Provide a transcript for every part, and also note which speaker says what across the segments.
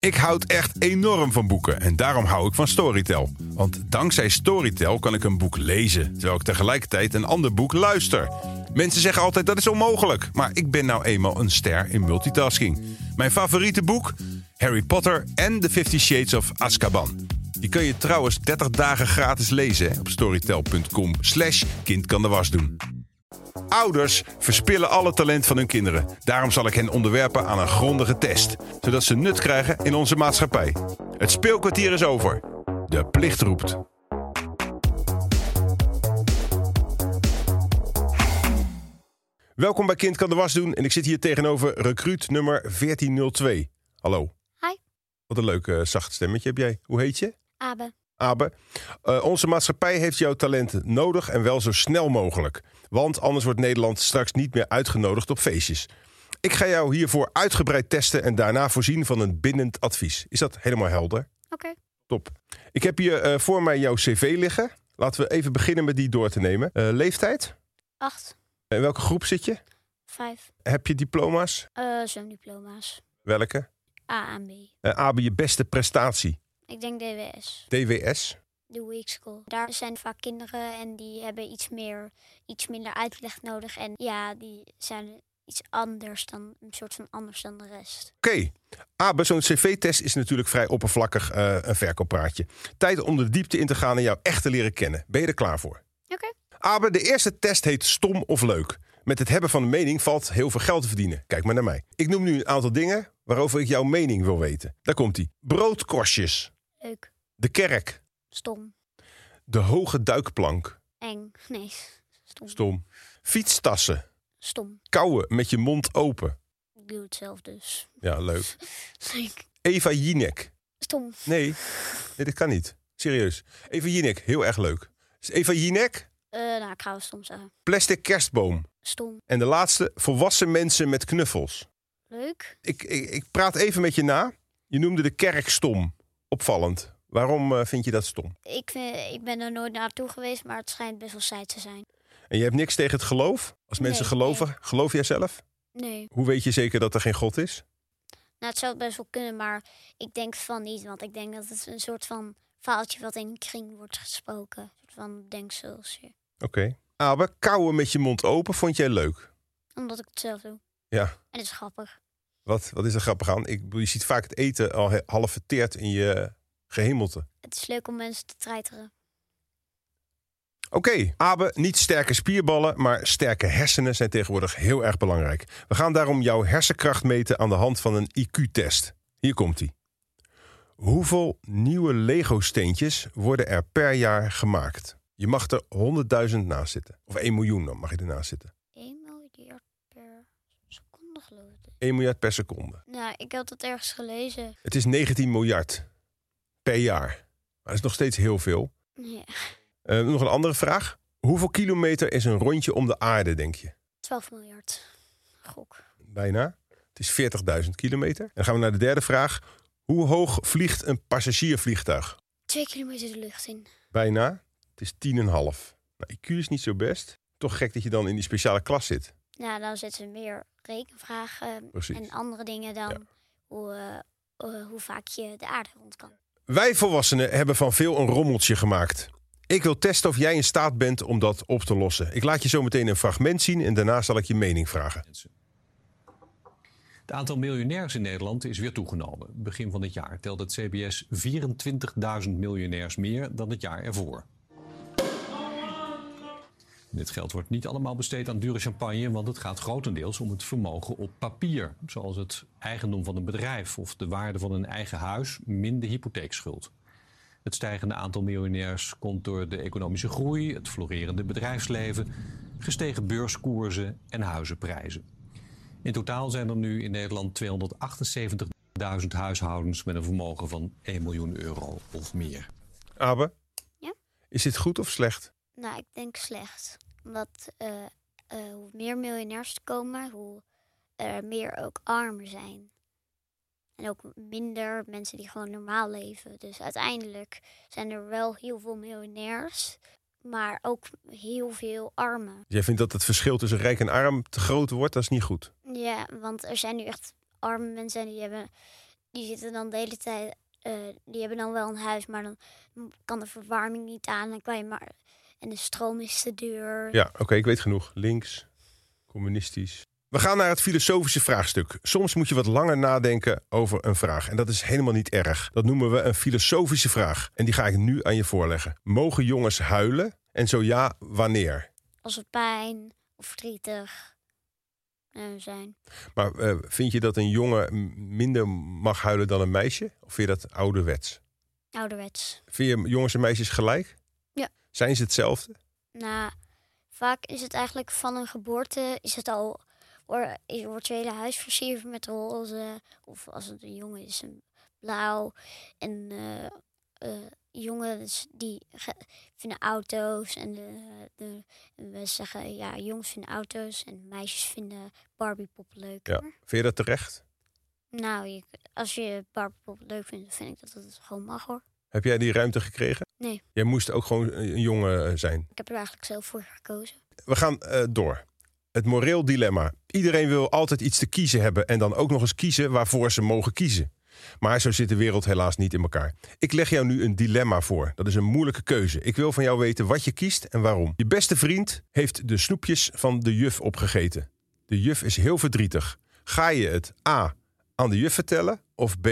Speaker 1: Ik houd echt enorm van boeken en daarom hou ik van Storytel. Want dankzij Storytel kan ik een boek lezen, terwijl ik tegelijkertijd een ander boek luister. Mensen zeggen altijd dat is onmogelijk, maar ik ben nou eenmaal een ster in multitasking. Mijn favoriete boek? Harry Potter en The Fifty Shades of Azkaban. Die kun je trouwens 30 dagen gratis lezen hè, op storytel.com slash kind kan de was doen. Ouders verspillen alle talent van hun kinderen. Daarom zal ik hen onderwerpen aan een grondige test, zodat ze nut krijgen in onze maatschappij. Het speelkwartier is over. De plicht roept. Welkom bij Kind kan de was doen en ik zit hier tegenover recruut nummer 1402. Hallo.
Speaker 2: Hi.
Speaker 1: Wat een leuk eh, zacht stemmetje heb jij. Hoe heet je?
Speaker 2: Abe.
Speaker 1: Abe, eh, onze maatschappij heeft jouw talent nodig en wel zo snel mogelijk. Want anders wordt Nederland straks niet meer uitgenodigd op feestjes. Ik ga jou hiervoor uitgebreid testen en daarna voorzien van een bindend advies. Is dat helemaal helder?
Speaker 2: Oké.
Speaker 1: Top. Ik heb hier eh, voor mij jouw cv liggen. Laten we even beginnen met die door te nemen. Eh, leeftijd?
Speaker 2: Acht,
Speaker 1: In welke groep zit je?
Speaker 2: vijf,
Speaker 1: Heb je diploma's?
Speaker 2: eh zwemdiploma's.
Speaker 1: Welke?
Speaker 2: A en B.
Speaker 1: Eh, Abe, je beste prestatie?
Speaker 2: Ik denk DWS,
Speaker 1: DWS?
Speaker 2: de week school. Daar zijn vaak kinderen en die hebben iets meer, iets minder uitleg nodig. En ja, die zijn iets anders dan, een soort van anders dan de rest.
Speaker 1: Oké. Abe, zo'n cv-test is natuurlijk vrij oppervlakkig eh, een verkooppraatje. Tijd om de diepte in te gaan en jou echt te leren kennen. Ben je er klaar voor?
Speaker 2: Oké.
Speaker 1: Abe, de eerste test heet stom of leuk. Met het hebben van een mening valt heel veel geld te verdienen. Kijk maar naar mij. Ik noem nu een aantal dingen waarover ik jouw mening wil weten. Daar komt-ie. Broodkorstjes.
Speaker 2: Leuk,
Speaker 1: De kerk.
Speaker 2: stom,
Speaker 1: De hoge duikplank.
Speaker 2: eng, nee, stom, stom.
Speaker 1: Stom. Fietstassen. Kouwen met je mond open.
Speaker 2: Ik doe het zelf dus.
Speaker 1: Ja, leuk.
Speaker 2: Leuk.
Speaker 1: Eva Jinek.
Speaker 2: Stom,
Speaker 1: Nee, nee dat kan niet. Serieus. Eva Jinek, heel erg leuk. Dus Eva Jinek,
Speaker 2: Eh nou, ik ga wel stom zeggen.
Speaker 1: plastic kerstboom.
Speaker 2: Stom,
Speaker 1: En de laatste, volwassen mensen met knuffels.
Speaker 2: leuk,
Speaker 1: Ik, ik, ik praat even met je na. Je noemde de kerk stom. Opvallend. Waarom eh, vind je dat stom?
Speaker 2: ik, vind, ik ben er nooit naartoe geweest, maar het schijnt best wel saai te zijn.
Speaker 1: En je hebt niks tegen het geloof? Als mensen
Speaker 2: Nee,
Speaker 1: geloven, geloof jij zelf?
Speaker 2: Nee.
Speaker 1: Hoe weet je zeker dat er geen God is?
Speaker 2: Nou, het zou best wel kunnen, maar ik denk van niet. Want ik denk dat het een soort van verhaaltje wat in een kring wordt gesproken. Een soort van denkseltje.
Speaker 1: Oké. Abe, kouwen met je mond open vond jij leuk?
Speaker 2: Omdat ik het zelf doe.
Speaker 1: Ja.
Speaker 2: En het is grappig.
Speaker 1: Wat, wat is er grappig aan? Ik, bedoel, je ziet vaak het eten al he- half verteerd in je gehemelte.
Speaker 2: Het is leuk om mensen te treiteren.
Speaker 1: Oké, Abe, niet sterke spierballen, maar sterke hersenen zijn tegenwoordig heel erg belangrijk. We gaan daarom jouw hersenkracht meten aan de hand van een IQ-test. Hier komt ie. Hoeveel nieuwe Lego-steentjes worden er per jaar gemaakt? Je mag er 100.000 naast zitten. Of 1 miljoen dan mag je ernaast zitten.
Speaker 2: 1 miljard per seconde geloof ik.
Speaker 1: 1 miljard per seconde.
Speaker 2: Nou, ik had dat ergens gelezen.
Speaker 1: Het is 19 miljard per jaar. Maar dat is nog steeds heel veel.
Speaker 2: Ja,
Speaker 1: Eh, nog een andere vraag. Hoeveel kilometer is een rondje om de aarde, denk je?
Speaker 2: 12 miljard. Gok.
Speaker 1: Bijna. Het is 40.000 kilometer. En dan gaan we naar de derde vraag. Hoe hoog vliegt een passagiervliegtuig?
Speaker 2: 2 kilometer de lucht in.
Speaker 1: Bijna. Het is 10,5. Nou, IQ is niet zo best. Toch gek dat je dan in die speciale klas zit.
Speaker 2: Nou, dan zetten ze meer rekenvragen ehm,
Speaker 1: Precies.
Speaker 2: en andere dingen dan hoe, eh, eh, hoe vaak je de aarde rond kan.
Speaker 1: Wij volwassenen hebben van veel een rommeltje gemaakt. Ik wil testen of jij in staat bent om dat op te lossen. Ik laat je zo meteen een fragment zien en daarna zal ik je mening vragen.
Speaker 3: Het aantal miljonairs in Nederland is weer toegenomen. Begin van het jaar telde het CBS 24.000 miljonairs meer dan het jaar ervoor. Dit geld wordt niet allemaal besteed aan dure champagne, want het gaat grotendeels om het vermogen op papier. Zoals het eigendom van een bedrijf of de waarde van een eigen huis, minder hypotheekschuld. Het stijgende aantal miljonairs komt door de economische groei, het florerende bedrijfsleven, gestegen beurskoersen en huizenprijzen. In totaal zijn er nu in Nederland 278.000 huishoudens met een vermogen van 1 miljoen euro of meer.
Speaker 1: Abe?
Speaker 2: Ja?
Speaker 1: Is dit goed of slecht?
Speaker 2: Nou, ik denk slecht. Omdat eh, eh, hoe meer miljonairs er komen, hoe er meer ook armen zijn. En ook minder mensen die gewoon normaal leven. Dus uiteindelijk zijn er wel heel veel miljonairs, maar ook heel veel armen.
Speaker 1: Jij vindt dat het verschil tussen rijk en arm te groot wordt? Dat is niet goed.
Speaker 2: Ja, want er zijn nu echt arme mensen en die hebben die zitten dan de hele tijd. eh, die hebben dan wel een huis, maar dan kan de verwarming niet aan. Dan kan je maar, en de stroom is te duur.
Speaker 1: Ja, oké, ik weet genoeg. Links, communistisch. We gaan naar het filosofische vraagstuk. Soms moet je wat langer nadenken over een vraag. En dat is helemaal niet erg. Dat noemen we een filosofische vraag. En die ga ik nu aan je voorleggen. Mogen jongens huilen? En zo ja, wanneer?
Speaker 2: Als we pijn of verdrietig eh, zijn.
Speaker 1: Maar eh, vind je dat een jongen m- minder mag huilen dan een meisje? Of vind je dat ouderwets?
Speaker 2: Ouderwets.
Speaker 1: Vind je jongens en meisjes gelijk?
Speaker 2: Ja.
Speaker 1: Zijn ze hetzelfde?
Speaker 2: Nou, vaak is het eigenlijk van een geboorte is het al. Or, is- wordt je hele huis versierd met roze. Of als het een jongen is, een blauw. En eh, eh, jongens die ge- vinden auto's. En de, de- en we zeggen, ja, jongens vinden auto's. En meisjes vinden Barbiepop leuker.
Speaker 1: Ja. Vind je dat terecht?
Speaker 2: Nou, je, als je Barbiepop leuk vindt, dan vind ik dat het gewoon mag hoor.
Speaker 1: Heb jij die ruimte gekregen?
Speaker 2: Nee.
Speaker 1: Jij moest ook gewoon een jongen eh, zijn.
Speaker 2: Ik heb er eigenlijk zelf voor gekozen.
Speaker 1: We gaan eh, door. Het moreel dilemma. Iedereen wil altijd iets te kiezen hebben en dan ook nog eens kiezen waarvoor ze mogen kiezen. Maar zo zit de wereld helaas niet in elkaar. Ik leg jou nu een dilemma voor. Dat is een moeilijke keuze. Ik wil van jou weten wat je kiest en waarom. Je beste vriend heeft de snoepjes van de juf opgegeten. De juf is heel verdrietig. Ga je het A aan de juf vertellen of B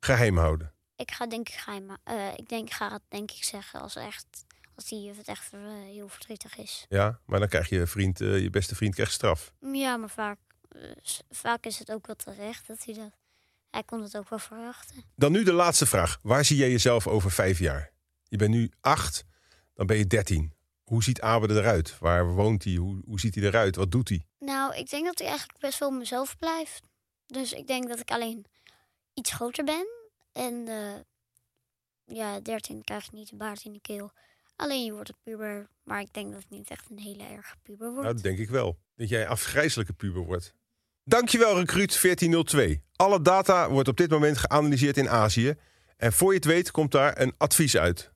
Speaker 1: geheim houden?
Speaker 2: Ik ga denk ik geheim. ma- eh, ik denk ik ga het denk ik zeggen als echt als die juf het echt eh, heel verdrietig is.
Speaker 1: Ja, maar dan krijg je vriend, eh, je beste vriend krijgt straf.
Speaker 2: Ja, maar vaak, eh, s- vaak is het ook wel terecht dat hij dat. Hij kon het ook wel verwachten.
Speaker 1: Dan nu de laatste vraag. Waar zie jij jezelf over vijf jaar? Je bent nu acht, dan ben je dertien. Hoe ziet Abe eruit? Waar woont hij? Hoe, hoe ziet hij eruit? Wat doet hij?
Speaker 2: Nou, ik denk dat ik eigenlijk best wel mezelf blijf. Dus ik denk dat ik alleen iets groter ben. En eh, ja, 13 krijg je niet de baard in de keel. Alleen je wordt een puber. Maar ik denk dat het niet echt een hele erge puber wordt.
Speaker 1: Nou, dat denk ik wel. Dat jij een afgrijzelijke puber wordt. Dankjewel, recruit 1402. Alle data wordt op dit moment geanalyseerd in Azië. En voor je het weet komt daar een advies uit.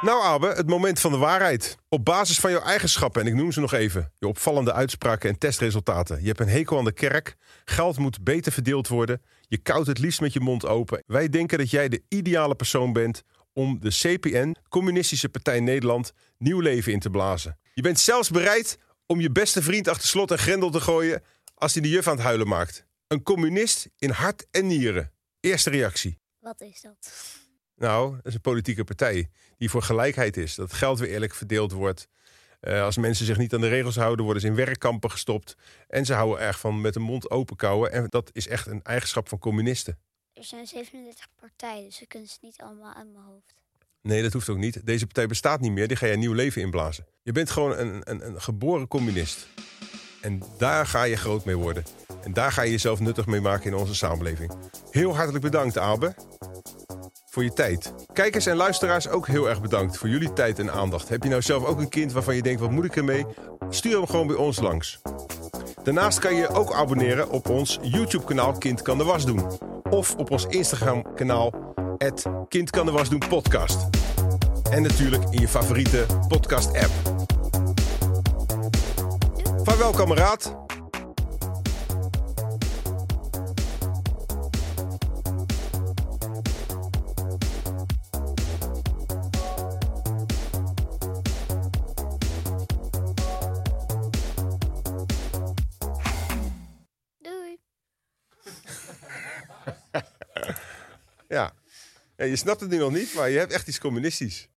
Speaker 1: Nou, Abe, het moment van de waarheid. Op basis van jouw eigenschappen, en ik noem ze nog even: je opvallende uitspraken en testresultaten. Je hebt een hekel aan de kerk. Geld moet beter verdeeld worden. Je koudt het liefst met je mond open. Wij denken dat jij de ideale persoon bent om de CPN, Communistische Partij Nederland, nieuw leven in te blazen. Je bent zelfs bereid om je beste vriend achter slot en grendel te gooien als hij de juf aan het huilen maakt. Een communist in hart en nieren. Eerste reactie.
Speaker 2: Wat is dat?
Speaker 1: Nou, dat is een politieke partij die voor gelijkheid is. Dat geld weer eerlijk verdeeld wordt. Eh, als mensen zich niet aan de regels houden, worden ze in werkkampen gestopt. En ze houden erg van met de mond open kouwen. En dat is echt een eigenschap van communisten.
Speaker 2: Er zijn 37 partijen, dus ze kunnen ze niet allemaal uit mijn hoofd.
Speaker 1: Nee, dat hoeft ook niet. Deze partij bestaat niet meer. Die ga je een nieuw leven inblazen. Je bent gewoon een, een, een geboren communist. En daar ga je groot mee worden. En daar ga je jezelf nuttig mee maken in onze samenleving. Heel hartelijk bedankt, Abe. Voor je tijd. Kijkers en luisteraars ook heel erg bedankt voor jullie tijd en aandacht. Heb je nou zelf ook een kind waarvan je denkt, wat moet ik ermee? Stuur hem gewoon bij ons langs. Daarnaast kan je ook abonneren op ons YouTube-kanaal Kind kan de was doen. Of op ons Instagram-kanaal het Kind kan de was doen podcast. En natuurlijk in je favoriete podcast-app. Vaarwel, kameraad.
Speaker 2: Doei!
Speaker 1: Ja. ja, je snapt het nu nog niet, maar je hebt echt iets communistisch.